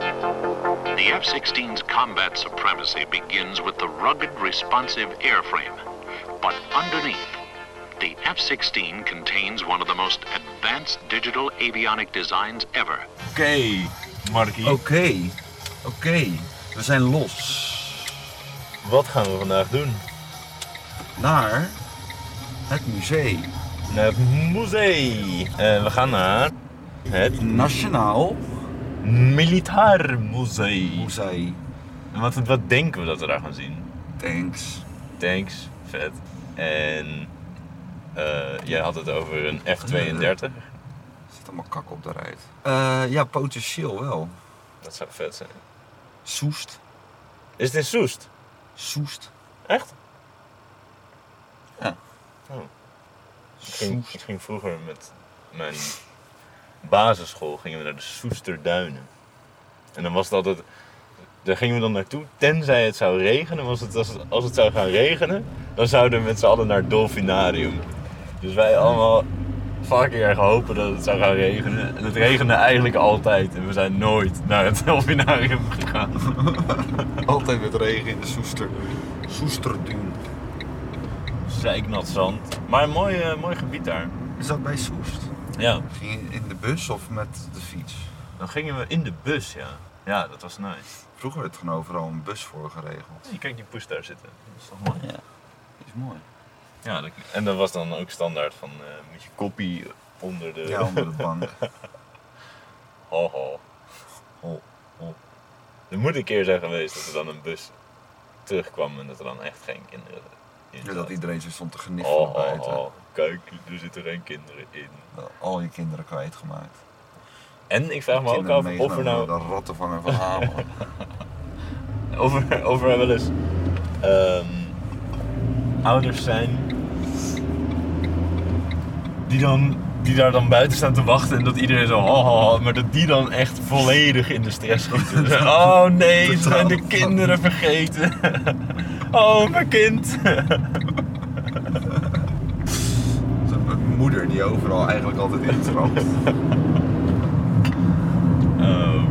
The F 16's combat supremacy begins with the rugged, responsive airframe. But underneath, the F 16 contains one of the most advanced digital avionic designs ever. Oké, Markie. Oké, oké. We zijn los Wat gaan we vandaag doen? naar het museum. Naar het museum. Eh, we gaan naar het Nationaal Militair Museum. Museum. En wat, wat denken we dat we daar gaan zien? Thanks. Tanks, vet. En eh, jij had het over een F-32. Er zit allemaal kak op de rijt. Eh, ja, potentieel wel. Dat zou vet zijn. Soest. Is het in Soest? Soest. Echt? Ja. Oh. Ik ging, ik Soest. ging vroeger met mijn basisschool gingen we naar de Soesterduinen. En dan was het altijd. Daar gingen we dan naartoe, tenzij het zou regenen. Was het, als, het, als het zou gaan regenen, dan zouden we met z'n allen naar het Dolfinarium. Dus wij allemaal fucking erg hopen dat het zou gaan regenen. En het regende eigenlijk altijd. En we zijn nooit naar het Dolfinarium gegaan. Altijd met regen in de Soester. Soesterduin. Zeiknat zand. Maar een mooi, eh, mooi gebied daar. Is dat bij Soest? Ja. Ging je in de bus of met de fiets? Dan gingen we in de bus, ja. Ja, dat was nice. Vroeger werd gewoon overal een bus voor geregeld. Je kijkt die poes daar zitten. Dat is toch mooi? Is mooi. Ja, dat- en dat was dan ook standaard van eh, met je koppie onder de... Ja, onder de bank. ho, ho. Ho, ho. Er moet een keer zijn geweest dat er dan een bus terugkwam en dat er dan echt geen kinderen in Ja, dat zaten. iedereen zo stond te geniffen Ho, ho, buiten. ho. Kijk, er zitten geen kinderen in. Al je kinderen kwijtgemaakt. En ik vraag me ook Kinderen af of er meegenomen nou naar De rattenvanger van ah, Hamer. over, over wel eens ehm, ouders zijn die, dan, die daar dan buiten staan te wachten en dat iedereen zo oh, oh, oh, maar dat die dan echt volledig in de stress schieten. Oh nee, ze zijn de kinderen vergeten. Oh, mijn kind. Zo'n moeder die overal eigenlijk altijd in trapt. Oh.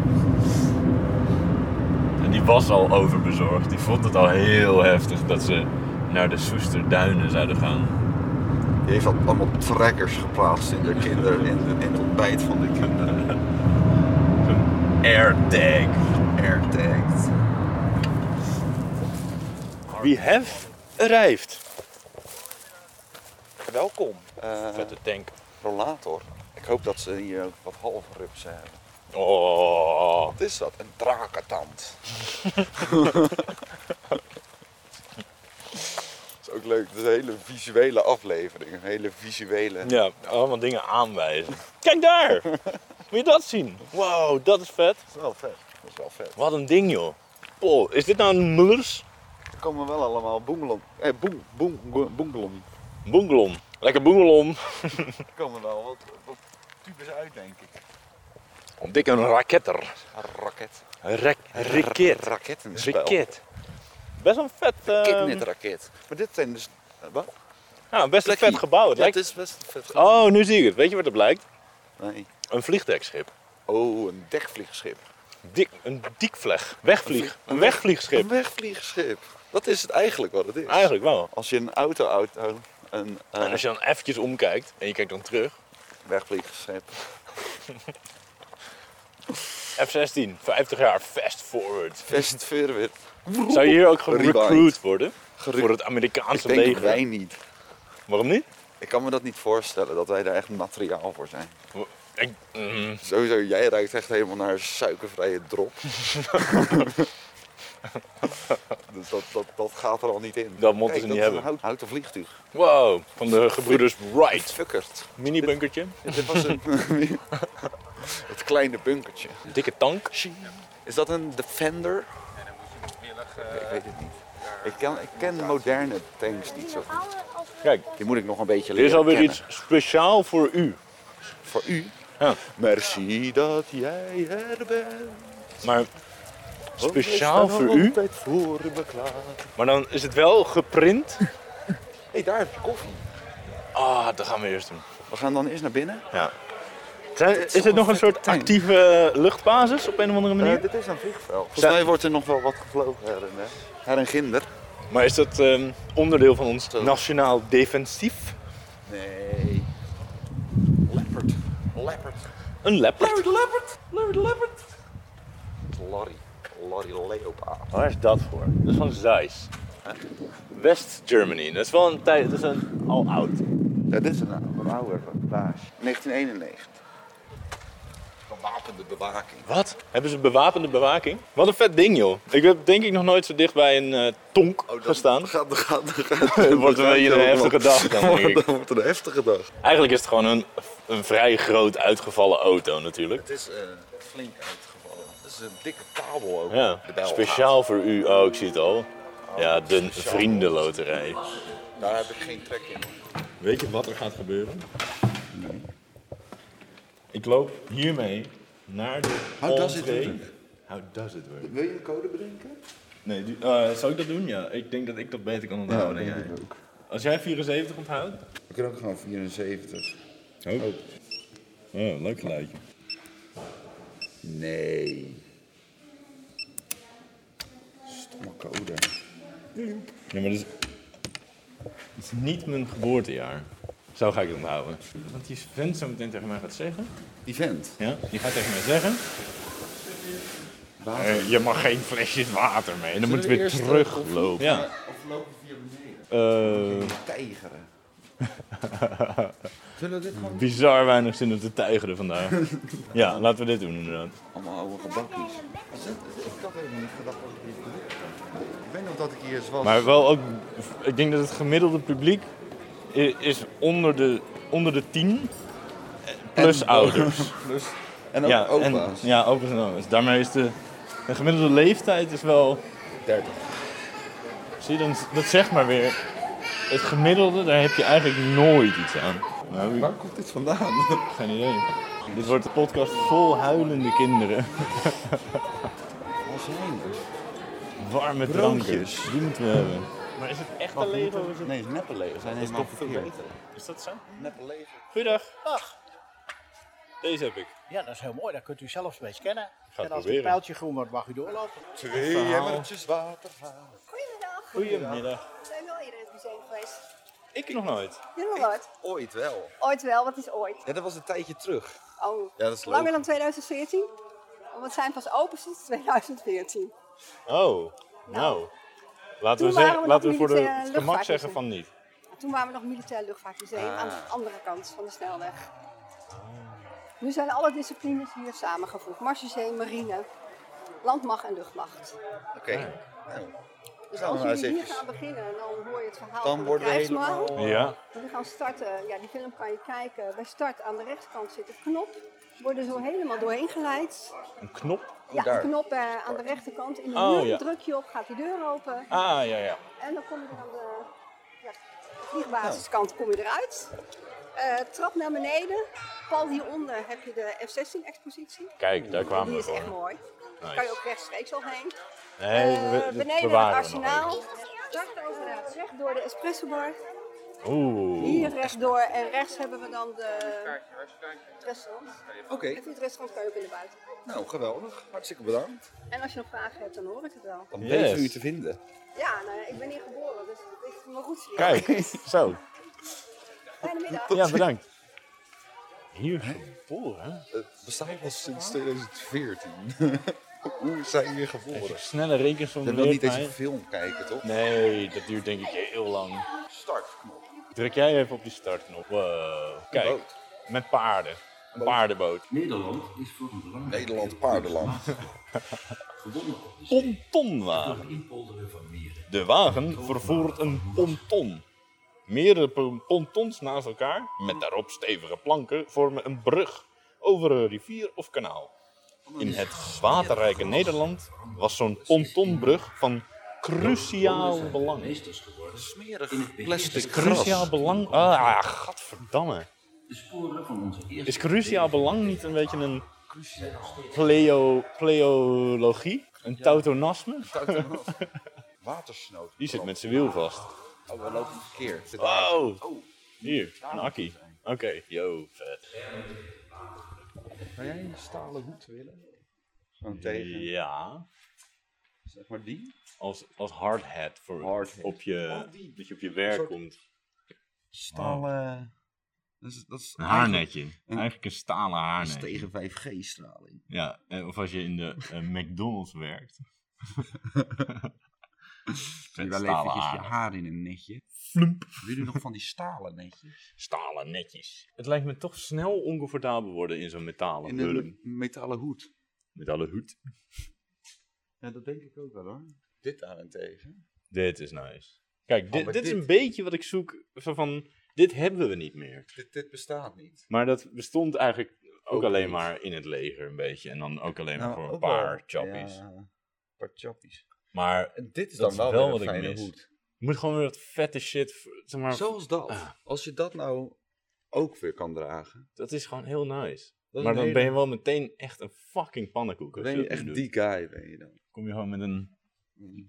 En die was al overbezorgd. Die vond het al heel heftig dat ze naar de Soesterduinen zouden gaan. Die heeft al allemaal trekkers geplaatst in de kinderen, in, de- in het ontbijt van de kinderen. Zo'n AirTag. Airtagged. We have arrived. Welkom. eh, Vette tank. rollator. Ik hoop dat ze hier ook wat halfrupsen hebben. Oh. Wat is dat? Een drakentand. dat is ook leuk. Dat is een hele visuele aflevering. Een hele visuele... Ja, allemaal dingen aanwijzen. Kijk daar! Moet je dat zien? Wauw, dat is vet. Dat is wel vet. Dat is wel vet. Wat een ding, joh. Oh, is dit nou een Mullers? Er komen wel allemaal boemelom. Eh, boem, boem, boem- boemelom. Boengelom. Lekker boengelom. Er komen wel wat, wat tubes uit, denk ik. Dik een raketter. Een raket. Rek, raket. Rakettenspel. Raket. Best wel een vet, ehm Kidnitraket. Maar dit zijn dus... eh, Wat? ja, best een vet gebouw. Het Ja, lijkt... het is best een vet gebouw. Oh, nu zie ik het. Weet je wat het lijkt? Nee. Een vliegdekschip. Oh, een dekvliegschip. Dik, een diekvleg. Wegvlieg. Een wegvliegschip. Een wegvliegschip. Dat is het eigenlijk wat het is. Eigenlijk wel. Als je een auto, auto een eh, En als je dan eventjes omkijkt en je kijkt dan terug. wegvliegschip. F-16, 50 jaar, fast forward. Vest verwit. Zou je hier ook gewoon Rewind. recruit worden? Geru- Voor het Ik Amerikaanse denk leger? wij niet. Waarom niet? Ik kan me dat niet voorstellen dat wij daar echt materiaal voor zijn. Ik, mm, Sowieso, jij ruikt echt helemaal naar suikervrije drop. dus dat, dat, dat gaat er al niet in. Dat moeten ze Kijk, niet is hebben. Een hout, houten vliegtuig. wow, van de gebroeders Wright. Fuckert. Mini-bunkertje, Dit was een, het kleine bunkertje. dikke tank. Is dat een Defender? ik weet het niet. Ik ken, ik ken moderne tanks niet zo goed. Kijk, Die moet ik nog een beetje dit leren is alweer kennen. iets speciaal voor u. Voor u. Ja. Merci dat jij er bent. Maar speciaal Want we voor staan u? altijd voor me klaar. Maar dan is het wel geprint. Hé, daar heb je koffie. Ah, dat gaan we eerst doen. Eh, We gaan dan eerst naar binnen. Ja. Zijn- is dit nog een soort tank. actieve luchtbasis op een of andere Eh, manier? dit is een vliegveld. Volgens Zijn- mij wordt er nog wel wat gevlogen her en, der. her en ginder. Maar is dat ehm, onderdeel van ons Zo. nationaal defensief? Nee. Leopard. Leopard. Een leopard? Leopard. Leopard. Leopard. Lorry. Lorry Leopard. Waar is dat voor? Dat is van Zeiss. West Germany. Dat is wel een tijd, dat is een, al oud. Ja, dit is een oude- oude baas. 1991. Gewapende bewaking. Wat? Hebben ze bewapende bewaking? Wat een vet ding joh. Ik heb denk ik nog nooit zo dicht bij een eh, tonk gestaan. Oh, Gaat, gaat, Het wordt een beetje een heftige dag dan, denk ik. Dat wordt een heftige dag. Eigenlijk is het gewoon een, een vrij groot uitgevallen auto natuurlijk. Het is eh, flink uitgevallen. Het is een dikke kabel ook. Ja, speciaal voor u. Oh, ik zie het al. Ja, de vriendenloterij. Daar heb ik geen trek in. Weet je wat er gaat gebeuren? Ik loop hiermee naar de How does it entree. work? How does it work? Wil je een code bedenken? Nee, du- eh, zou ik dat doen? Ja, ik denk dat ik dat beter kan onthouden dan jij. ook. Als jij 74 onthoudt? We kunnen ook gewoon 74. Oh. oh, leuk geluidje. Nee. Stomme code. Ja, maar dat is, dat is niet mijn geboortejaar. Zo ga ik het onthouden. Want die vent zo meteen tegen mij gaat zeggen. Event. Ja, die gaat tegen mij zeggen. eh, je mag geen flesjes water mee. En dan moeten we weer teruglopen. Ja. Of lopen via beneden? Eh, Tijgeren. Zullen we dit gewoon... bizar weinig zin om te tijgeren vandaag. ja, laten we dit doen inderdaad. Allemaal oude gebakjes. Is dit- Ik had helemaal niet gedacht dat ik hier kon. Ik weet nog dat ik hier eens was. Maar wel ook, ik denk dat het gemiddelde publiek i- is onder de, onder de tien. eh, Plus En- ouders. Plus. En ook en- opa's. ja, opa's en oma's. Daarmee is de, de gemiddelde leeftijd is wel... 30. Zie je, dan, dat zegt maar weer... Het gemiddelde, daar heb je eigenlijk nooit iets aan. Nou, ik Waar komt dit vandaan? heb geen idee. Dit wordt een podcast vol huilende kinderen. Waar zijn we? Warme Broodjes. drankjes. Die moeten we hebben. Maar is het echt een Lego? Nee, het is neppe leger. Zijn helemaal verkeerd. Is dat zo? Neppe leger. Goeiedag. Deze heb ik. Ja, dat is heel mooi. Daar kunt u zelfs mee scannen. het en als het proberen. pijltje groen wordt, mag u doorlopen. Twee emmertjes water. Goedemiddag. Goedemiddag. We zijn wel eerder in het museum geweest. Ik nog nooit. Helemaal nooit. Ooit wel. Ooit wel, wat is ooit? Ja, dat was een tijdje terug. Oh, Ja, dat is langer leuk. dan 2014? Want we zijn pas open sinds 2014. Oh, nou. Laten we, Toen waren zeggen- we laten we nog voor niet, de eh, het gemak luchtvaartjes zeggen in. van niet. Toen waren we nog militair luchtvaartmuseum Ah. aan de andere kant van de snelweg. Nu zijn alle disciplines hier samengevoegd. Marchezee, marine, landmacht en luchtmacht. Oké. Nou, Dus Nou, als nou, jullie hier zeg eens. gaan beginnen, dan hoor je het verhaal dan van de wordt het krijgsmaal. helemaal... Ja. We gaan starten, ja, die film kan je kijken. Bij start aan de rechterkant zit een knop. Worden zo helemaal doorheen geleid. Een knop? Ja, daar. de knop eh, aan de rechterkant in de Oh, muur. ja. Druk je op, gaat de deur open. Ah, ja, ja. En dan kom je aan de ja, Oh. vliegbasiskant kom je eruit. Eh, trap naar beneden. Pal hieronder heb je de F-16 expositie. Kijk, daar kwamen Die we is echt voor. mooi. Daar kan je ook rechtstreeks al heen. Nee, Eh, we- dat beneden het bewaren we nog arsenaal. Dart over recht door de espressobar. even. Oeh. Hier rechtdoor en rechts hebben we dan de het restaurant. Oké. En voor het restaurant kan je ook in de buiten. Nou, geweldig. Hartstikke bedankt. En als je nog vragen hebt, dan hoor ik het wel. Dan Yes. ben je u te vinden. Ja, nou, ja, ik ben hier geboren, dus het is mijn roots hier. Kijk, zo. Fijne middag. Ja, bedankt. Hier geboren? Het bestaat al sinds 2014. Hoe zijn hier Even geboren? snelle rekensom Je wil niet leert eens een mij. film kijken, toch? Nee, dat duurt denk ik heel lang. Startknop. Druk jij even op die startknop. Wow. Kijk, boot. met paarden. Een paardenboot. Nederland is voor een belangrijk Nederland paardenland. verbonden op de zee door Pontonwagen. het inpolderen van mieren. De wagen vervoert een ponton. Meerdere pon- pontons naast elkaar, met daarop stevige planken, vormen een brug over een rivier of kanaal. In het waterrijke Nederland was zo'n pontonbrug van cruciaal belang. Meesters geworden Smerig in het beheer plastic van Cruciaal gras. belang? Ah, gadverdamme. de sporen van onze eerste... Is cruciaal belang niet een beetje een pleo, pleologie? Een tautonasme? Watersnood. Die zit met zijn wiel vast. Oh, we lopen verkeerd. Oh. Wow. Hier, een akkie. Oké, yo, vet. Zou jij een stalen hoed willen? Gewoon tegen, Ja, zeg maar die? als, als hard hat voor Hard hat. Op je, Oh, die- dat je op je werk soort- komt. Stalen... Dat is, dat is Een eigenlijk- haarnetje. Eigenlijk een stalen dat is haarnetje. tegen 5G-straling. Ja, eh, of als je in de eh, McDonald's werkt. Doe Met je wel stalen eventjes je haren. haar in een netje. Wil je nog van die stalen netjes? Stalen netjes. Het lijkt me toch snel oncomfortabel worden in zo'n metalen In hulp. een metalen hoed. Metalen hoed. Ja, dat denk ik ook wel hoor. Dit daarentegen. Dit is nice. Kijk, dit, Oh, maar dit, is dit- een beetje wat ik zoek. Van, van, dit hebben we niet meer. Dit, dit bestaat niet. Maar dat bestond eigenlijk ook, Ook alleen niet. maar in het leger een beetje. En dan ook alleen maar Nou, voor een ook wel. paar chappies. Ja, een paar chappies. Maar En dit is Dat dan is wel, wel weer wat ik een fijne mis. hoed. je moet gewoon weer dat vette shit. v- Zeg maar, Zoals dat. Ah. Als je dat nou ook weer kan dragen. Dat is gewoon heel nice. Dat Maar is een dan hele- ben je wel meteen echt een fucking pannenkoek. Dan als ben je je dat echt doet. die Mm, guy, ben je dan. Kom je gewoon met een,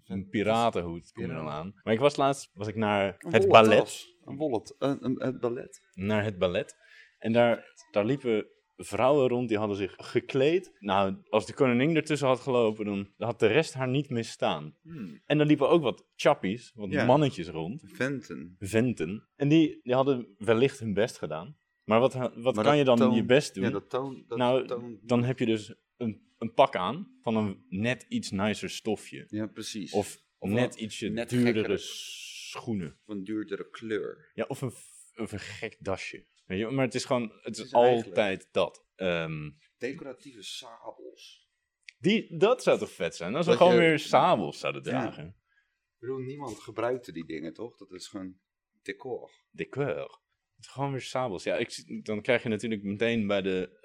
een piratenhoed kom je dan aan. Maar ik was laatst was ik naar Een het wollen ballet. tas. Een wollet. Een, een, een ballet. naar het ballet. En daar, daar liepen vrouwen rond, die hadden zich gekleed. Nou, als de koningin ertussen had gelopen, dan had de rest haar niet misstaan. En dan liepen ook wat chappies, wat Hmm. Ja. mannetjes rond, Venten. venten. En die, die hadden wellicht hun best gedaan. Maar wat, wat Maar kan dat je dan toont- je best doen? Ja, dat toon. Dat nou, toon- dan heb je dus een, een pak aan van een net iets nicer stofje. ja, precies. Of, Of net een- ietsje net duurdere gekkere- schoenen. Of een duurdere kleur. Ja, of een, f- of een gek dasje. Weet je, maar het is gewoon, het is is eigenlijk- altijd dat. Ehm, Decoratieve sabels. die, dat zou toch vet zijn? Als we Dat gewoon je- weer sabels zouden dragen. Ik bedoel, niemand gebruikte die dingen, toch? Dat is gewoon decor. Decor. Het is gewoon weer sabels. Ja, ik, zie- dan krijg je natuurlijk meteen bij de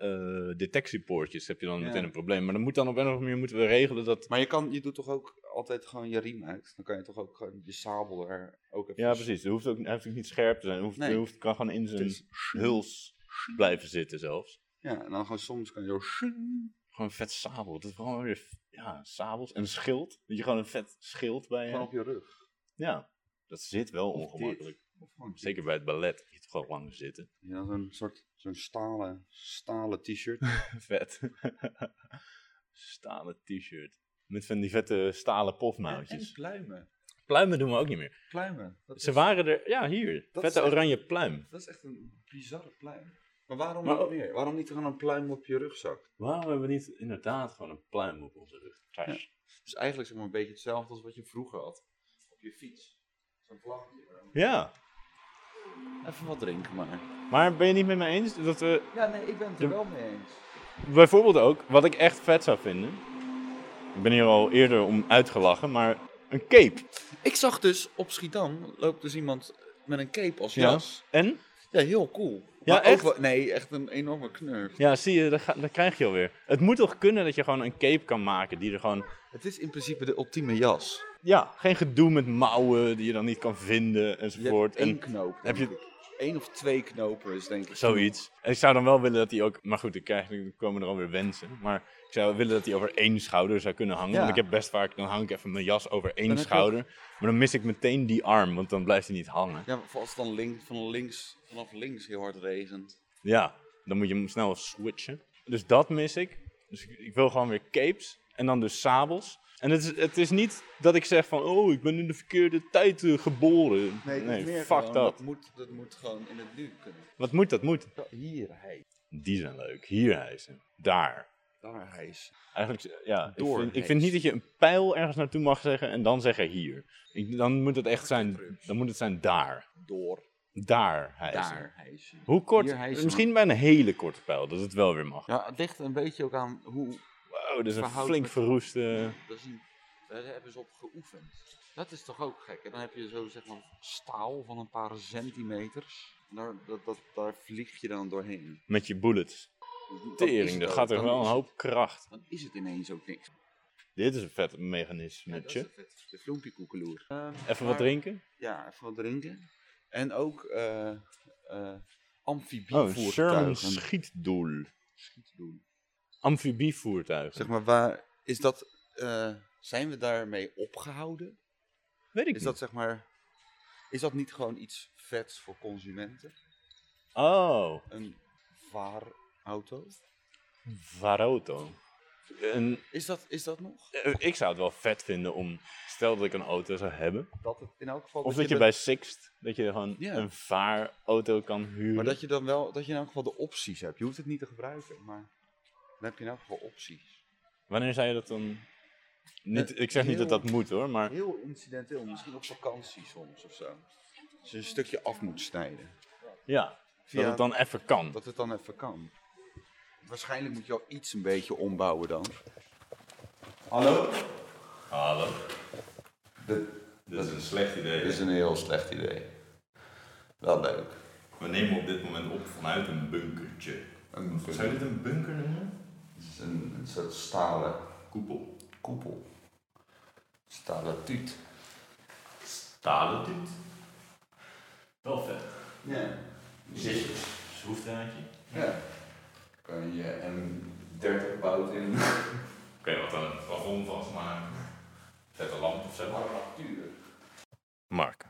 eh, detectiepoortjes heb je dan Ja. meteen een probleem. Maar dan moet dan op een of andere manier moeten we regelen dat... Maar je, kan, je doet toch ook altijd gewoon je riem uit? Dan kan je toch ook gewoon je sabel er ook even... Ja, precies. Het hoeft ook, hij hoeft ook niet scherp te zijn. Het hoeft, Nee. hij hoeft, kan gewoon in zijn is- huls blijven zitten zelfs. Ja, en dan gewoon soms kan je zo... shing, Gewoon een vet sabel. Dat is gewoon weer... Ja, sabels. En een schild. Dat je gewoon een vet schild bij je Gewoon hebt. op je rug. Ja, dat zit wel Of dit. ongemakkelijk. Of gewoon dit. Zeker bij het ballet. Je het gewoon lang zitten. Ja, zo'n soort zo'n stalen, stalen t-shirt. Vet. stalen t-shirt. Met van die vette stalen En pofmouwtjes. pluimen. Pluimen doen we ook niet meer. Pluimen. Dat Ze is, waren er, ja hier. Dat vette is echt- oranje pluim. dat is echt een bizarre pluim. Maar waarom Maar niet ook- meer? Waarom niet gewoon een pluim op je rugzak? Waarom hebben we niet inderdaad gewoon een pluim op onze rug? Trash. Dus eigenlijk zeg maar een beetje hetzelfde als wat je vroeger had. Op je fiets. Zo'n vlaggetje. waarom- Ja. Even wat drinken maar. Maar ben je niet met mij eens dat we Ja, nee, ik ben het er De- wel mee eens. Bijvoorbeeld ook, wat ik echt vet zou vinden. Ik ben hier al eerder om uitgelachen, maar een cape. Ik zag dus op Schiedam loopt dus iemand met een cape als jas. En? Ja, heel cool. Ja, Maar ook echt? wel- nee, echt een enorme knurf. Ja, zie je, dat, ga- dat krijg je alweer. Het moet toch kunnen dat je gewoon een cape kan maken die er gewoon... Het is in principe de ultieme jas. Ja, geen gedoe met mouwen die je dan niet kan vinden Je hebt enzovoort. één En knoop. heb je- Eén of twee knopen is denk ik. zoiets. En ik zou dan wel willen dat hij ook... Maar goed, ik krijg, dan komen er alweer wensen. Maar ik zou willen dat hij over één schouder zou kunnen hangen. Ja. Want ik heb best vaak, dan hang ik even mijn jas over één Dan heb je ook- schouder. Maar dan mis ik meteen die arm, want dan blijft hij niet hangen. Ja, maar als het dan link, van links, vanaf links heel hard regent. Ja, dan moet je hem snel switchen. Dus dat mis ik. Dus ik, ik wil gewoon weer capes en dan dus sabels. En het is, het is niet dat ik zeg van, oh, ik ben in de verkeerde tijd eh, geboren. Nee, fuck dat. moet, dat moet gewoon in het nu kunnen. Wat moet, dat moet. Hier, hij. Die zijn leuk. Hier hijsen. Daar. Daar, hij is. Eigenlijk, ja, ik Door vind, ik hijsen. vind niet dat je een pijl ergens naartoe mag zeggen en dan zeggen hier. Ik, dan moet het echt zijn, dan moet het zijn daar. Door. Daar hijsen. Daar, hij is. Hoe kort? Hier hijsen. Misschien bij een hele korte pijl, dat het wel weer mag. Ja, het ligt een beetje ook aan hoe Wow, dat is een Verhoud flink met- verroeste... Dat is een, daar hebben ze op geoefend. Dat is toch ook gek. En dan heb je zo zeg maar staal van een paar centimeters. Daar, dat, dat, daar vlieg je dan doorheen. met je bullets. Dan is Tering, het daar ook. gaat er Dan wel een is- hoop kracht. Dan is het ineens ook niks. Dit is een vet Ja, dat is mechanismetje. het vet. De filmpjekoekeloer. Even wat drinken? Ja, even wat drinken. En ook eh eh Oh, een Sherman amfibievoertuigen schietdoel. schieten doen. Amfibievoertuigen. Zeg maar, waar is dat... eh, zijn we daarmee opgehouden? Weet ik Is niet. dat zeg maar... Is dat niet gewoon iets vets voor consumenten? Oh, een vaarauto. Varoto. En, Is dat, is dat nog? eh, ik zou het wel vet vinden om, stel dat ik een auto zou hebben, Dat het in elk geval. of dat je bij Sixt, dat je gewoon Ja. een vaarauto kan huren. Maar dat je dan wel, dat je in elk geval de opties hebt. Je hoeft het niet te gebruiken, maar dan heb je in elk geval opties. Wanneer zei je dat dan? Niet, Eh, ik zeg niet dat heel- dat moet hoor, maar Heel incidenteel, misschien op vakantie soms of zo. Dus je een stukje af moet snijden. ja, dat Via- het dan even kan. Dat het dan even kan. Waarschijnlijk moet je al iets een beetje ombouwen dan. Hallo? Hallo, Dit, dit is een slecht idee. is een heel slecht idee. Wel leuk. We nemen op dit moment op vanuit een bunkertje. Een, Zou je dit een bunker noemen? een, een soort stalen Koepel. koepel. Stalen tuut. Stalen Wel vet. Dus Ja. Schroefdraadje. Ja. Kan je een 30 bout in. Kun je wat aan een wagon vastmaken? Zet een lamp of zo. Mark,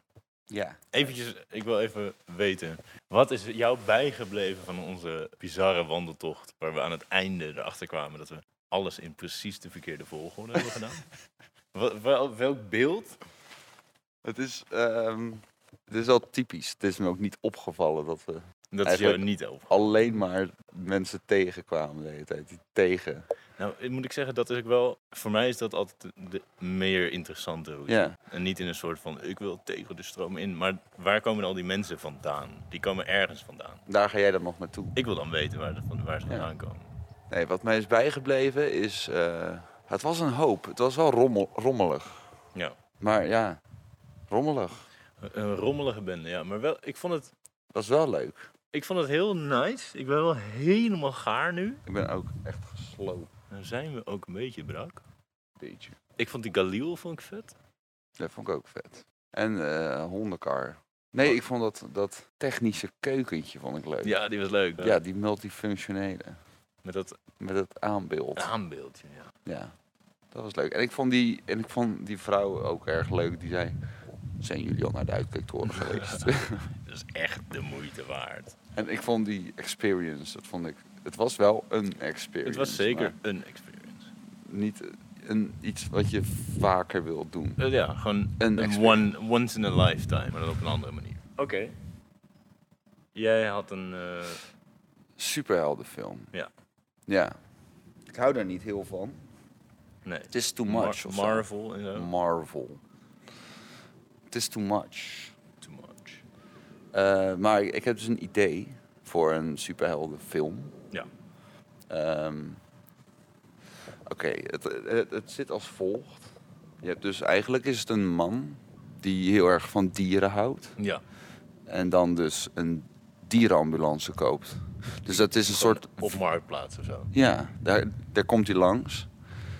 Ja. eventjes, ik wil even weten. Wat is jou bijgebleven van onze bizarre wandeltocht? Waar we aan het einde erachter kwamen dat we alles in precies de verkeerde volgorde hebben gedaan. Wel, wel- welk beeld? Het is, ehm, het is wel typisch. Het is me ook niet opgevallen dat we Dat is jou Eigenlijk- niet over. alleen maar mensen tegenkwamen de hele tijd. Die tegen. Nou, ik moet ik zeggen, dat is ook wel. Voor mij is dat altijd de, de meer interessante route. Ja. En niet in een soort van ik wil tegen de stroom in. Maar waar komen al die mensen vandaan? Die komen ergens vandaan. Daar ga jij dan nog naartoe. Ik wil dan weten waar, van, waar ze Ja. vandaan komen. Nee, wat mij is bijgebleven is... eh, het was een hoop. Het was wel rommel, rommelig. Ja. Maar ja, rommelig. Een rommelige bende, ja. Maar wel, ik vond het Dat is wel leuk. Ik vond het heel nice. Ik ben wel helemaal gaar nu. Ik ben ook echt gesloopt. Dan zijn we ook een beetje brak. Beetje. Ik vond die Galil vond ik vet. Dat vond ik ook vet. En eh, hondenkar. Nee, ik vond dat, dat technische keukentje vond ik leuk. Ja, die was leuk. Ja, die multifunctionele. Met dat Met het aanbeeld. aanbeeldje. Ja. Ja, dat was leuk. En ik vond die, en ik vond die vrouw ook erg leuk. Die zei, zijn jullie al naar de uitkijktoren geweest? Dat is echt de moeite waard. en ik vond die experience, dat vond ik... Het was wel een experience. Het was zeker maar een experience. niet een, iets wat je vaker wilt doen. Eh, ja, gewoon Een een, experience. one, once in a lifetime, maar dan op een andere manier. Oké. Jij had een... eh, Superheldenfilm. ja, Ja. Ik hou daar niet heel van. nee. Het is too much Mar- of zo. Marvel en zo. Marvel. Het is too much. Too much. Eh, maar ik heb dus een idee voor een superheldenfilm. Ja. Ehm, Oké, het, het, het zit als volgt. Je hebt dus eigenlijk is het een man die heel erg van dieren houdt. Ja. En dan dus een dierenambulance koopt. Dus dat is een soort... Op marktplaats of zo. Ja, daar, daar komt hij langs.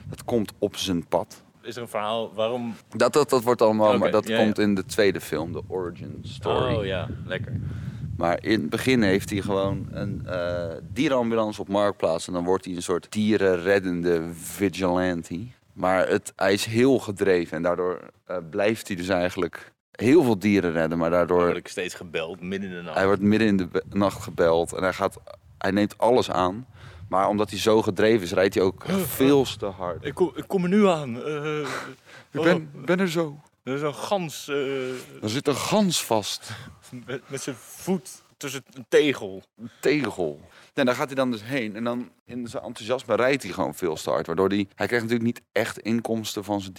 Dat komt op zijn pad. Is er een verhaal waarom... Dat, dat, dat wordt allemaal... Oké, maar dat ja, ja. komt in de tweede film, de origin story. Oh ja, lekker. Maar in het begin heeft hij gewoon een eh, dierenambulance op marktplaats. En dan wordt hij een soort dierenreddende vigilante. Maar het, hij is heel gedreven. En daardoor eh, blijft hij dus eigenlijk heel veel dieren redden. Maar Dan daardoor... word ik steeds gebeld, midden in de nacht. Hij wordt midden in de be- nacht gebeld. En hij, gaat, hij neemt alles aan. Maar omdat hij zo gedreven is, rijdt hij ook veel te hard. Ik kom, ik kom er nu aan. Eh, Ik oh, ben, ben er zo. Er is een gans eh, Er zit een gans vast. met, met zijn voet tussen een tegel. tegel. En daar gaat hij dan dus heen. En dan in zijn enthousiasme rijdt hij gewoon veel te hard. Waardoor hij... Hij krijgt natuurlijk niet echt inkomsten van zijn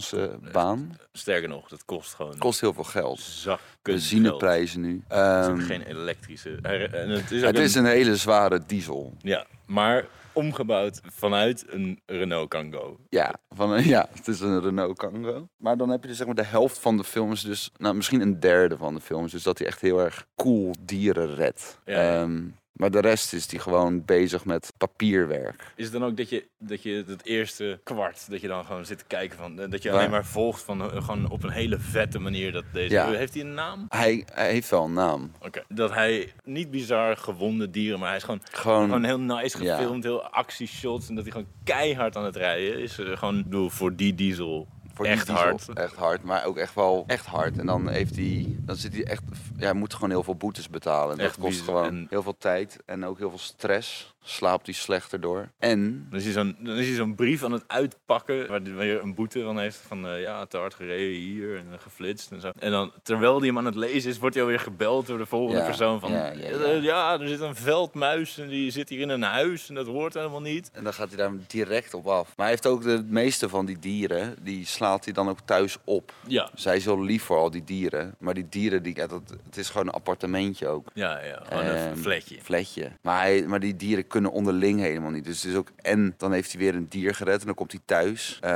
dierenambulancebaan. Sterker nog, dat kost gewoon Kost heel veel geld. zak geld. Benzineprijzen nu. Het is Ehm, ook geen elektrische. Er- en het is, ook het is een, een hele zware diesel. Ja, maar omgebouwd vanuit een Renault Kangoo. Ja, van, een- ja, het is een Renault Kangoo. Maar dan heb je dus zeg maar de helft van de film is dus... Nou, misschien een derde van de film is dus dat hij echt heel erg cool dieren redt. Ja, ja. Ehm, maar de rest is hij gewoon bezig met papierwerk. Is het dan ook dat je, dat je het eerste kwart, dat je dan gewoon zit te kijken van... eh, Dat je Waar? alleen maar volgt van eh, gewoon op een hele vette manier dat deze... Ja. Heeft hij een naam? Hij, hij heeft wel een naam. Oké. Dat hij niet bizar gewonde dieren, maar hij is gewoon Gewoon, Gewoon heel nice Ja. gefilmd, heel actieshots. En dat hij gewoon keihard aan het rijden is. Eh, gewoon, ik bedoel, voor die diesel Voor die echt diesel, eh, hard. Echt hard, maar ook echt wel echt hard. En dan heeft hij, dan zit hij echt, ja, hij moet gewoon heel veel boetes betalen. En Echt dat kost bizar. gewoon En- heel veel tijd en ook heel veel stress. slaapt hij slechter door. En Dan is hij zo'n dan is hij zo'n brief aan het uitpakken waar hij weer een boete van heeft. Van eh, ja, te hard gereden hier en eh, geflitst en zo. En dan, terwijl die hem aan het lezen is, wordt hij alweer gebeld door de volgende Ja, persoon. Van "Eh, ja, ja, ja, ja. er zit een veldmuis en die zit hier in een huis en dat hoort helemaal niet. En dan gaat hij daar direct op af. Maar hij heeft ook de meeste van die dieren, die slaat hij dan ook thuis op. Ja, Zij is heel lief voor al die dieren. Maar die dieren, die, ja, dat, het is gewoon een appartementje ook. ja, ja gewoon Ehm, een vlekje. Fletje. Maar, hij, maar die dieren kunnen onderling helemaal niet. Dus het is ook. En dan heeft hij weer een dier gered en dan komt hij thuis. Eh,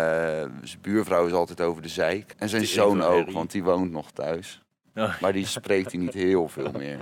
zijn buurvrouw is altijd over de zeik. En zijn Die zoon Evelyn. ook, want die woont nog thuis. Oh. Maar die spreekt hij niet heel veel meer.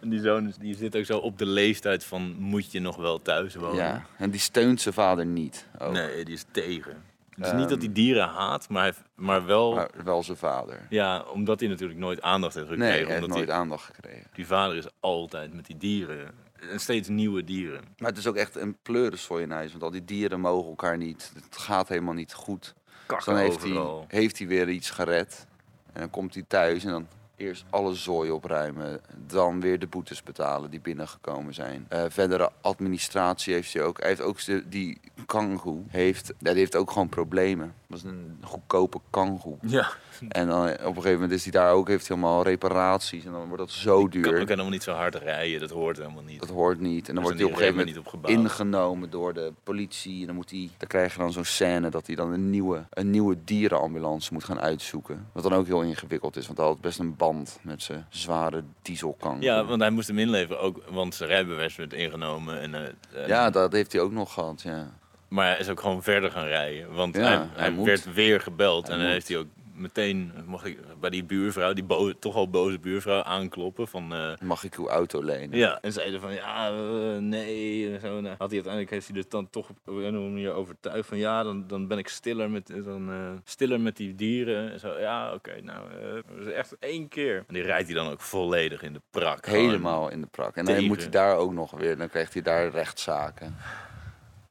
En die zoon is- die zit ook zo op de leeftijd van moet je nog wel thuis wonen. Ja. En die steunt zijn vader niet. Ook. Oh. Ehm. Nee, die is tegen. Het is niet dat hij dieren haat, maar, hij, maar wel... Maar wel zijn vader. Ja, omdat hij natuurlijk nooit aandacht heeft gekregen. Nee, hij heeft omdat nooit hij- aandacht gekregen. Die vader is altijd met die dieren. En steeds nieuwe dieren. Maar het is ook echt een pleurensooi in huis. Want al die dieren mogen elkaar niet. Het gaat helemaal niet goed. Dus Kakken dan heeft hij, overal. heeft hij weer iets gered. En dan komt hij thuis en dan eerst alle zooi opruimen. Dan weer de boetes betalen die binnengekomen zijn. Eh, verdere administratie heeft hij ook. Hij heeft ook de- die kangoe. Heeft, ja, die heeft ook gewoon problemen. Dat was een goedkope kangoe. Ja. En dan eh, op een gegeven moment is hij daar ook. Heeft hij allemaal reparaties. En dan wordt dat zo Kan ook duur. helemaal niet zo hard rijden, dat hoort helemaal niet. Dat hoort niet. En dan Daar wordt hij zijn op een gegeven die moment remmen niet op gebouwd. ingenomen door de politie. En dan, moet hij, dan krijg je dan zo'n scène dat hij dan een nieuwe, een nieuwe dierenambulance moet gaan uitzoeken. Wat dan ook heel ingewikkeld is, want hij had best een band met zijn zware dieselkang. Ja, want hij moest hem inleveren ook, want zijn rijbewijs werd ingenomen. En, eh, eh, Ja, dat heeft hij ook nog gehad, ja. Maar hij is ook gewoon verder gaan rijden, want Ja, hij, hij hij moet. werd weer gebeld. Hij en dan moet. heeft hij ook meteen, mocht ik bij die buurvrouw, die bo- toch al boze buurvrouw, aankloppen van... eh, Mag ik uw auto lenen? Ja, en zeiden van ja, eh, nee. En zo. En had hij uiteindelijk heeft hij er dan toch op een of andere manier overtuigd van ja, dan, dan ben ik stiller met, dan, eh, stiller met die dieren. En zo, ja, oké, nou, eh, dat is echt één keer. En die rijdt hij dan ook volledig in de prak. gewoon. Helemaal in de prak. En dan tegen. moet hij daar ook nog weer, dan krijgt hij daar rechtszaken.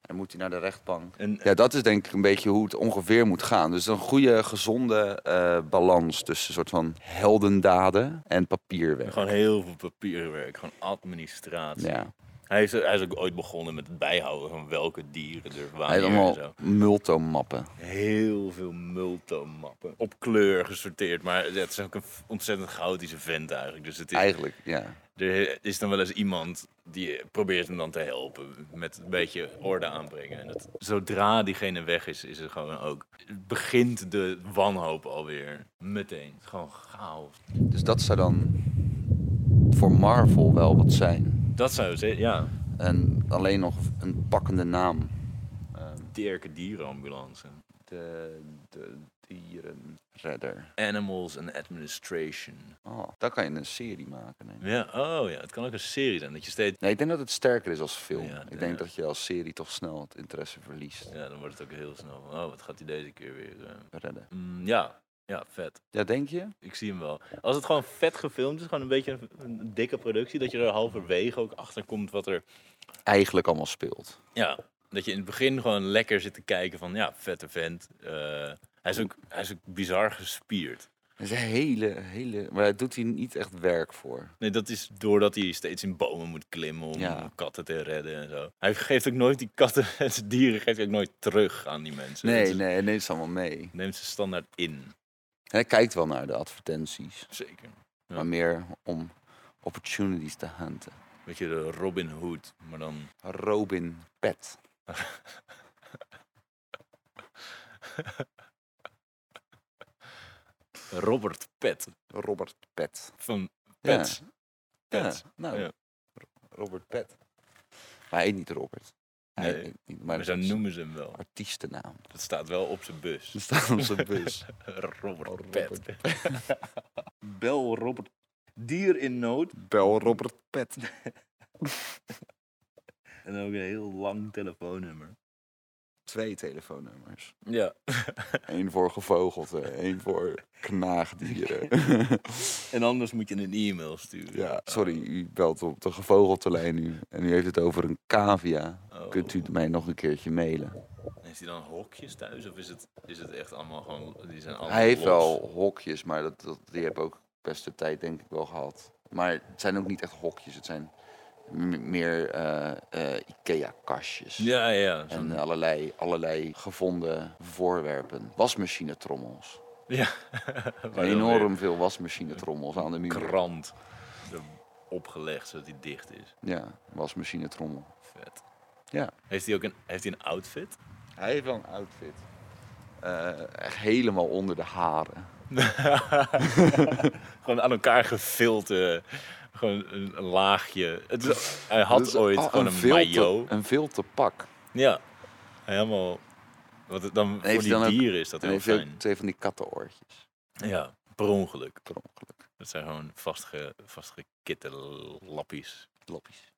En dan moet hij naar de rechtbank. En, Ja, dat is denk ik een beetje hoe het ongeveer moet gaan. Dus een goede, gezonde eh, balans tussen een soort van heldendaden en papierwerk. Gewoon heel veel papierwerk, gewoon administratie. Ja, Hij, is, hij is ook ooit begonnen met het bijhouden van welke dieren er hij heeft waren en zo. allemaal multomappen. Heel veel multomappen. Op kleur gesorteerd, maar het is ook een ontzettend chaotische vent eigenlijk. Dus het is, Eigenlijk, ja. Er is dan wel eens iemand die probeert hem dan te helpen met een beetje orde aanbrengen. En dat, zodra diegene weg is, is het gewoon ook, begint de wanhoop alweer meteen. Het is gewoon chaos. Dus dat zou dan voor Marvel wel wat zijn. Dat zou je zeggen, ja. En alleen nog een pakkende naam. Dirke dierenambulance. De, de dierenredder. Animals and Administration. Oh, daar kan je een serie maken. Nee. Ja, oh ja, het kan ook een serie zijn. Dat je steeds, nee, ik denk dat het sterker is als film. Ja, ik denk ja. dat je als serie toch snel het interesse verliest. ja, dan wordt het ook heel snel van, oh, wat gaat hij deze keer weer? eh. Redden. Mm, ja, ja, vet. Ja, denk je? Ik zie hem wel. Als het gewoon vet gefilmd is, gewoon een beetje een, een dikke productie, dat je er halverwege ook achter komt wat er. Eigenlijk allemaal speelt. Ja, dat je in het begin gewoon lekker zit te kijken van ja, vette vent. Eh, hij, is ook, hij is ook bizar gespierd. Het is een hele, hele... Maar daar doet hij niet echt werk voor. Nee, dat is doordat hij steeds in bomen moet klimmen om Ja. katten te redden en zo. Hij geeft ook nooit die katten en zijn dieren geeft hij ook nooit terug aan die mensen. Het Nee, is- nee, nee, het is allemaal mee. Neemt ze standaard in. En hij kijkt wel naar de advertenties, Zeker. Ja. maar meer om opportunities te hunten. Weet je, de Robin Hood, maar dan Robin Pet. Robert Pet Robert Pet. van Ja. Pets. Pets. Ja, nou, Ja. Robert Pet. Maar hij heet niet Robert. Hij Nee, heet niet, maar Maar zo dat is noemen ze hem wel. zijn artiestennaam. Dat staat wel op zijn bus. Er staat op zijn bus. Robert Pet. Pet. Bel Robert. Dier in nood. Bel Robert Pet. En ook een heel lang telefoonnummer. Twee telefoonnummers. Ja. Eén voor gevogelten, één voor knaagdieren. En anders moet je een e-mail sturen. ja, sorry, u belt op de gevogelte lijn nu. En u heeft het over een cavia. Oh. Kunt u mij nog een keertje mailen? Heeft hij dan hokjes thuis? Of is het, is het echt allemaal gewoon... Die zijn allemaal Hij heeft los? wel hokjes, maar dat, dat, die heb ik ook best de tijd denk ik wel gehad. Maar het zijn ook niet echt hokjes, het zijn m- meer eh, eh, IKEA-kastjes. Ja, ja. zo- En allerlei, allerlei gevonden voorwerpen. Wasmachinetrommels. ja. Waar dan Enorm veel wasmachinetrommels aan weer de muur. Krant er opgelegd zodat hij dicht is. Ja, wasmachinetrommel. Vet. Ja. Heeft hij ook een, heeft hij een outfit? Hij heeft wel een outfit. Eh, echt helemaal onder de haren. Gewoon aan elkaar gevild. eh, gewoon een, een laagje. Het is, hij had Dat is ooit al gewoon een, veel te- maillot. Een veel te pak. Ja. Helemaal. Wat het dan voor heeft die dan ook- dieren is dat En heel heeft hij ook fijn. twee van die kattenoortjes. Ja, per ongeluk. Per ongeluk. Dat zijn gewoon vastge, vastgekitte lappies. Lappies.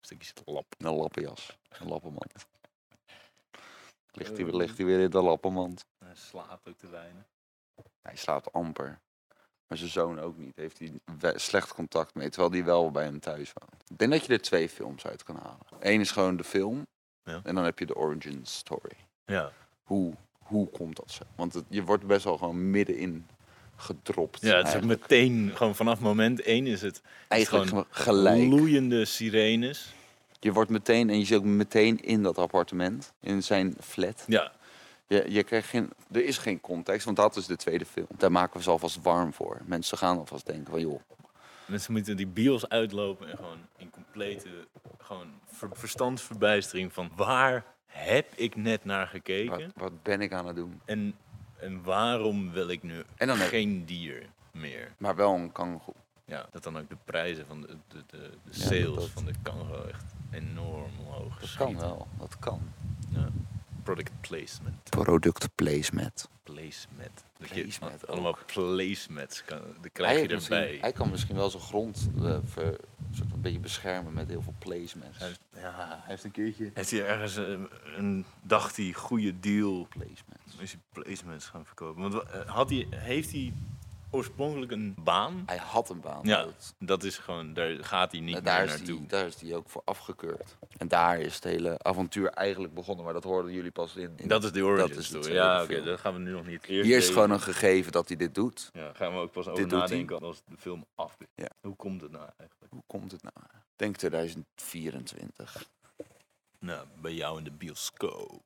Stukjes lap. En een lappenjas. Een lappenmand. Ligt Eh. hij, ligt hij weer in de lappenmand. Hij slaapt ook te weinig. Hij slaapt amper. Maar zijn zoon ook niet. Heeft hij we- slecht contact mee. Terwijl hij wel bij hem thuis woont. Ik denk dat je er twee films uit kan halen. Eén is gewoon de film. Ja. En dan heb je de origin story. Ja. Hoe, hoe komt dat zo? Want het- je wordt best wel gewoon middenin gedropt. Ja, het is ook eigenlijk meteen, gewoon vanaf moment één is het eigenlijk gewoon ge- gelijk. loeiende sirenes. Je wordt meteen, en je zit ook meteen in dat appartement. In zijn flat. Ja, Je, je krijgt geen, er is geen context, want dat is de tweede film. Daar maken we ze alvast warm voor. Mensen gaan alvast denken van, joh, mensen moeten die bios uitlopen en gewoon in complete gewoon ver- verstandsverbijstering van waar heb ik net naar wat, gekeken wat ben ik aan het doen? en, en waarom wil ik nu En dan heb- geen dier meer? Maar wel een kangoeroe. Ja, dat dan ook de prijzen van de, de, de, de Ja, sales dat- van de kango echt enorm omhoog Dat schieten. kan wel, dat kan. Ja. Product placement. Product placement. Placemat. Dat Placemat je ook. a- allemaal placemats kan, die hij, krijg je heeft misschien- erbij. hij kan misschien wel zijn grond eh, ver- soort van een beetje beschermen met heel veel placements. Hij- ja, hij- heeft een keertje... heeft hij ergens een, een dacht hij goede deal Placements. is hij placemats gaan verkopen. Want wa- eh, had hij, heeft hij oorspronkelijk een baan? Hij had een baan. Ja, dat- dat is gewoon, daar gaat hij niet en meer daar, is naartoe. die, daar is die ook voor afgekeurd. En daar is het hele avontuur eigenlijk begonnen, maar dat hoorden jullie pas in. in- Dat is de origin dat is de story. tweede Ja, oké, film. dat gaan we nu nog niet. Eerst Hier is even- gewoon een gegeven dat hij dit doet. Ja, gaan we ook pas over Dit doet hij. nadenken als de film af is. Ja. Hoe komt het nou eigenlijk? Hoe komt het nou? Ik Denk 2024. Nou, bij jou in de bioscoop.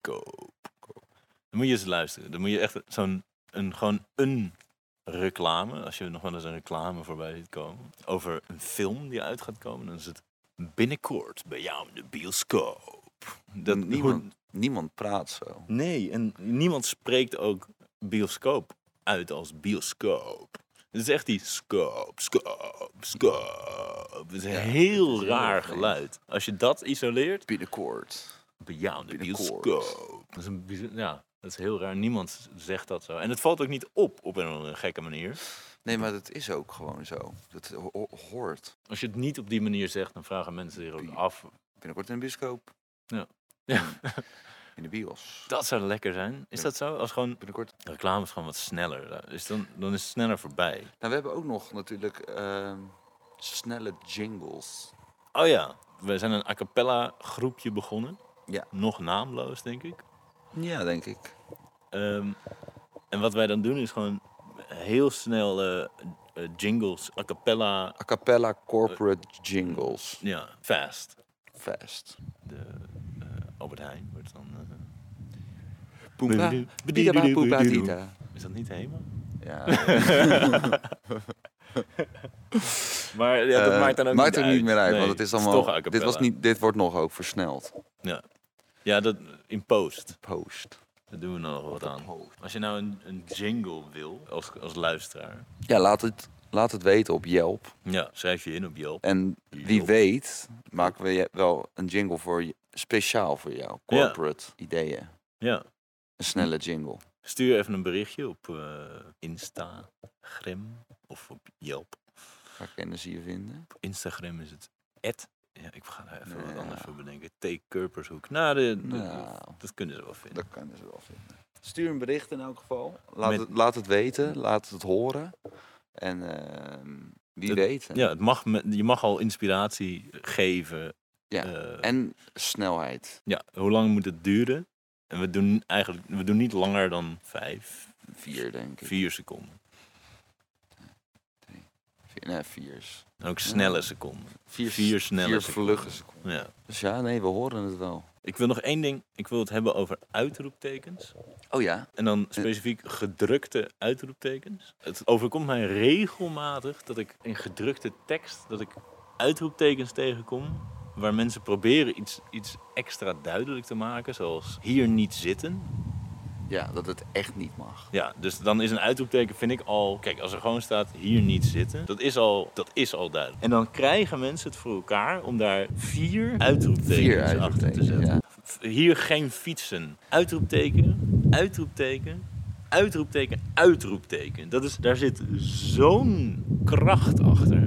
Koop. koop. Dan moet je eens luisteren. Dan moet je echt zo'n een, gewoon een reclame, als je nog wel eens een reclame voorbij ziet komen, over een film die uit gaat komen, dan is het binnenkort bij jou in de bioscoop. Dat niemand, hoe- niemand praat zo. nee, en niemand spreekt ook bioscoop uit als bioscoop. Het is echt die scope, scope, scope. Het is een Ja, heel het is heel raar vreemd. geluid. Als je dat isoleert, Binnenkort. bejaarde Binnenkort. bioscoop. Dat is, een, bijz- ja, dat is heel raar. Niemand zegt dat zo. En het valt ook niet op op een of andere gekke manier. Nee, maar dat is ook gewoon zo. Dat ho- ho- hoort. Als je het niet op die manier zegt, dan vragen mensen zich ook Bi- af. Binnenkort in de bioscoop. Ja, In de bios. dat zou lekker zijn. Is Ja. dat zo? Als gewoon Binnenkort. reclame is gewoon wat sneller. Is dan, dan is het sneller voorbij. Nou, we hebben ook nog natuurlijk ehm, snelle jingles. Oh ja, we zijn een a cappella groepje begonnen. Ja. Nog naamloos, denk ik. Ja, denk ik. Ehm, en wat wij dan doen is gewoon heel snel eh, eh, jingles, a cappella, A cappella corporate jingles. ja, fast. Fast. de eh, Albert Heijn wordt dan. eh, Poempa, bidaba, poepa, dita. is dat niet helemaal? Ja, Maar ja, dat eh, maakt dan ook maakt niet, ook uit. niet meer uit, Nee, want het is allemaal. toch a dit, was cappella. niet, dit wordt nog ook versneld. Ja. ja, dat in post. Post. Daar doen we nog wat aan. Als je nou een, een jingle wil als, als luisteraar, Ja, laat het, laat het weten op Yelp. ja, schrijf je in op Yelp. En wie Yelp. weet maken we je wel een jingle voor je, speciaal voor jou. Corporate ideeën. Ja. Een Hm. snelle jingle. Stuur even een berichtje op eh Instagram of op Yelp. Waar kennen ze je vinden? Op Instagram is het at. Ja, ik ga daar even wat Ja. anders voor bedenken. T. Kurpershoek. Nou, de, de- Nou. dat kunnen ze wel vinden. Dat kunnen ze wel vinden. Stuur een bericht in elk geval. Laat, Met- het, laat het weten. Laat het horen. En ehm, wie Het- weet. hè? Ja, het mag, me- je mag al inspiratie geven. Ja, Eh, En snelheid. ja, hoe lang moet het duren? En we doen eigenlijk we doen niet langer dan vijf, Vier, denk ik. vier seconden. Vier, nee, vier is. Ook snelle seconden. Vier, Vier snelle Vier seconden. vlugge seconden. Ja. Dus ja, nee, we horen het wel. Ik wil nog één ding. Ik wil het hebben over uitroeptekens. Oh ja. En dan specifiek gedrukte uitroeptekens. Het overkomt mij regelmatig dat ik in gedrukte tekst dat ik uitroeptekens tegenkom waar mensen proberen iets, iets extra duidelijk te maken, zoals hier niet zitten. Ja, dat het echt niet mag. Ja, dus dan is een uitroepteken vind ik al. Kijk, als er gewoon staat hier niet zitten, dat is al, dat is al duidelijk. En dan krijgen mensen het voor elkaar om daar vier uitroeptekens Vier achter te uitroeptekens, zetten. ja. F- Hier geen fietsen. Uitroepteken, uitroepteken, uitroepteken, uitroepteken. Dat is, daar zit zo'n kracht achter.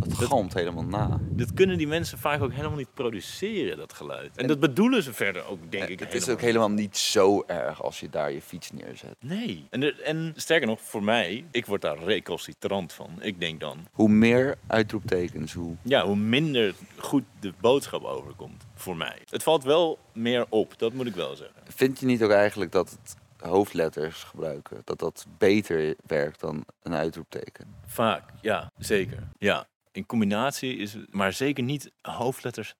Dat galmt helemaal na. Dat kunnen die mensen vaak ook helemaal niet produceren, dat geluid. En dat bedoelen ze verder ook, denk ik. Eh, het is helemaal ook helemaal niet zo erg als je daar je fiets neerzet. Nee. En, er- en sterker nog, voor mij, ik word daar recalcitrant van. Ik denk dan, Hoe meer uitroeptekens, hoe. ja, hoe minder goed de boodschap overkomt voor mij. Het valt wel meer op, dat moet ik wel zeggen. Vind je niet ook eigenlijk dat het hoofdletters gebruiken, dat dat beter werkt dan een uitroepteken? Vaak, ja, zeker. Ja, in combinatie is het, maar zeker niet hoofdletters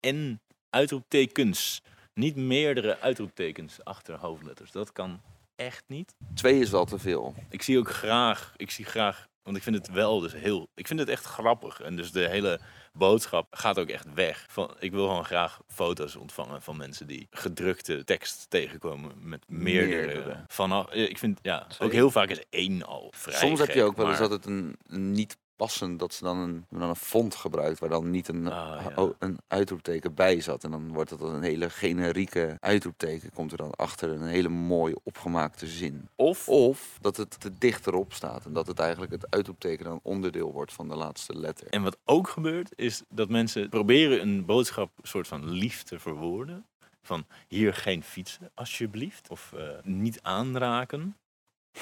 en uitroeptekens. Niet meerdere uitroeptekens achter hoofdletters. Dat kan echt niet. Twee is wel te veel. Ik zie ook graag, ik zie graag, want ik vind het wel dus heel, ik vind het echt grappig. En dus de hele boodschap gaat ook echt weg. Van, ik wil gewoon graag foto's ontvangen van mensen die gedrukte tekst tegenkomen met meerdere. Meerdere. Vanaf, eh, ik vind, ja, ook heel vaak is één al vrij Soms heb je gek, ook wel eens maar- dat het een, een niet passend, dat ze dan een, dan een font gebruikt waar dan niet een, Ah, ja. o- een uitroepteken bij zat. En dan wordt dat als een hele generieke uitroepteken, komt er dan achter een hele mooie opgemaakte zin. Of, Of dat het te dicht erop staat en dat het eigenlijk het uitroepteken dan onderdeel wordt van de laatste letter. en wat ook gebeurt, is dat mensen proberen een boodschap soort van lief te verwoorden. Van hier geen fietsen, alsjeblieft. Of eh, niet aanraken,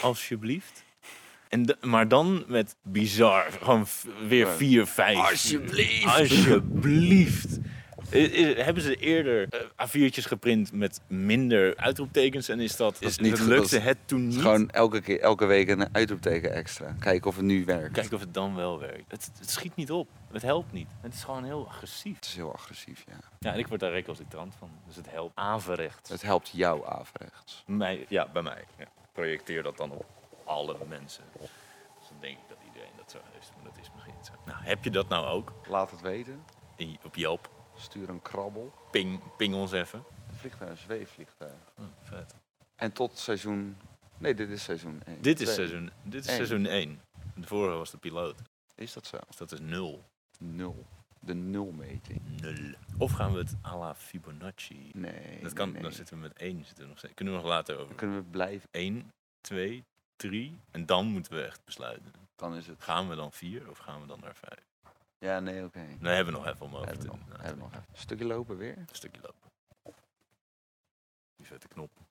alsjeblieft. En da- maar dan met bizar, gewoon f- weer Ja. vier, vijf. Alsjeblieft. Alsjeblieft. Eh, eh, Hebben ze eerder eh, A4'tjes geprint met minder uitroeptekens en is dat, is is niet dat goed, lukte dat is- het toen niet? Gewoon elke, keer, elke week een uitroepteken extra. Kijken of het nu werkt. Kijken of het dan wel werkt. Het, het schiet niet op, het helpt niet. Het is gewoon heel agressief. Het is heel agressief, ja. Ja, en ik word daar recalcitrant van. Dus het helpt averechts. Het helpt jou averechts. Mij, ja, bij mij. Ja. Projecteer dat dan op alle mensen. Dus dan denk ik dat iedereen dat zo heeft, maar dat is misschien niet zo. Nou, heb je dat nou ook? Laat het weten. In- op Yelp. Stuur een krabbel. Ping, ping ons even. Vliegtuig, zweefvliegtuig. Hm, vet. En tot seizoen... Nee, dit is seizoen 1. Dit is seizoen, dit is Eén. seizoen 1. De vorige was de piloot. Is dat zo? Dus dat is 0. Nul. De nulmeting. 0. Of gaan we het à la Fibonacci? Nee. dat kan, nee. dan zitten we met 1. Zitten we nog, steeds- kunnen we nog later Dan over. kunnen we blijven. 1, 2, 3. En dan moeten we echt besluiten. Dan is het... Gaan we dan 4 of gaan we dan naar 5? Ja, nee, oké. Nee, hebben we nog even om over Hebben te we nog, hebben we nog even. Stukje lopen weer. Een stukje lopen. Die vette knop.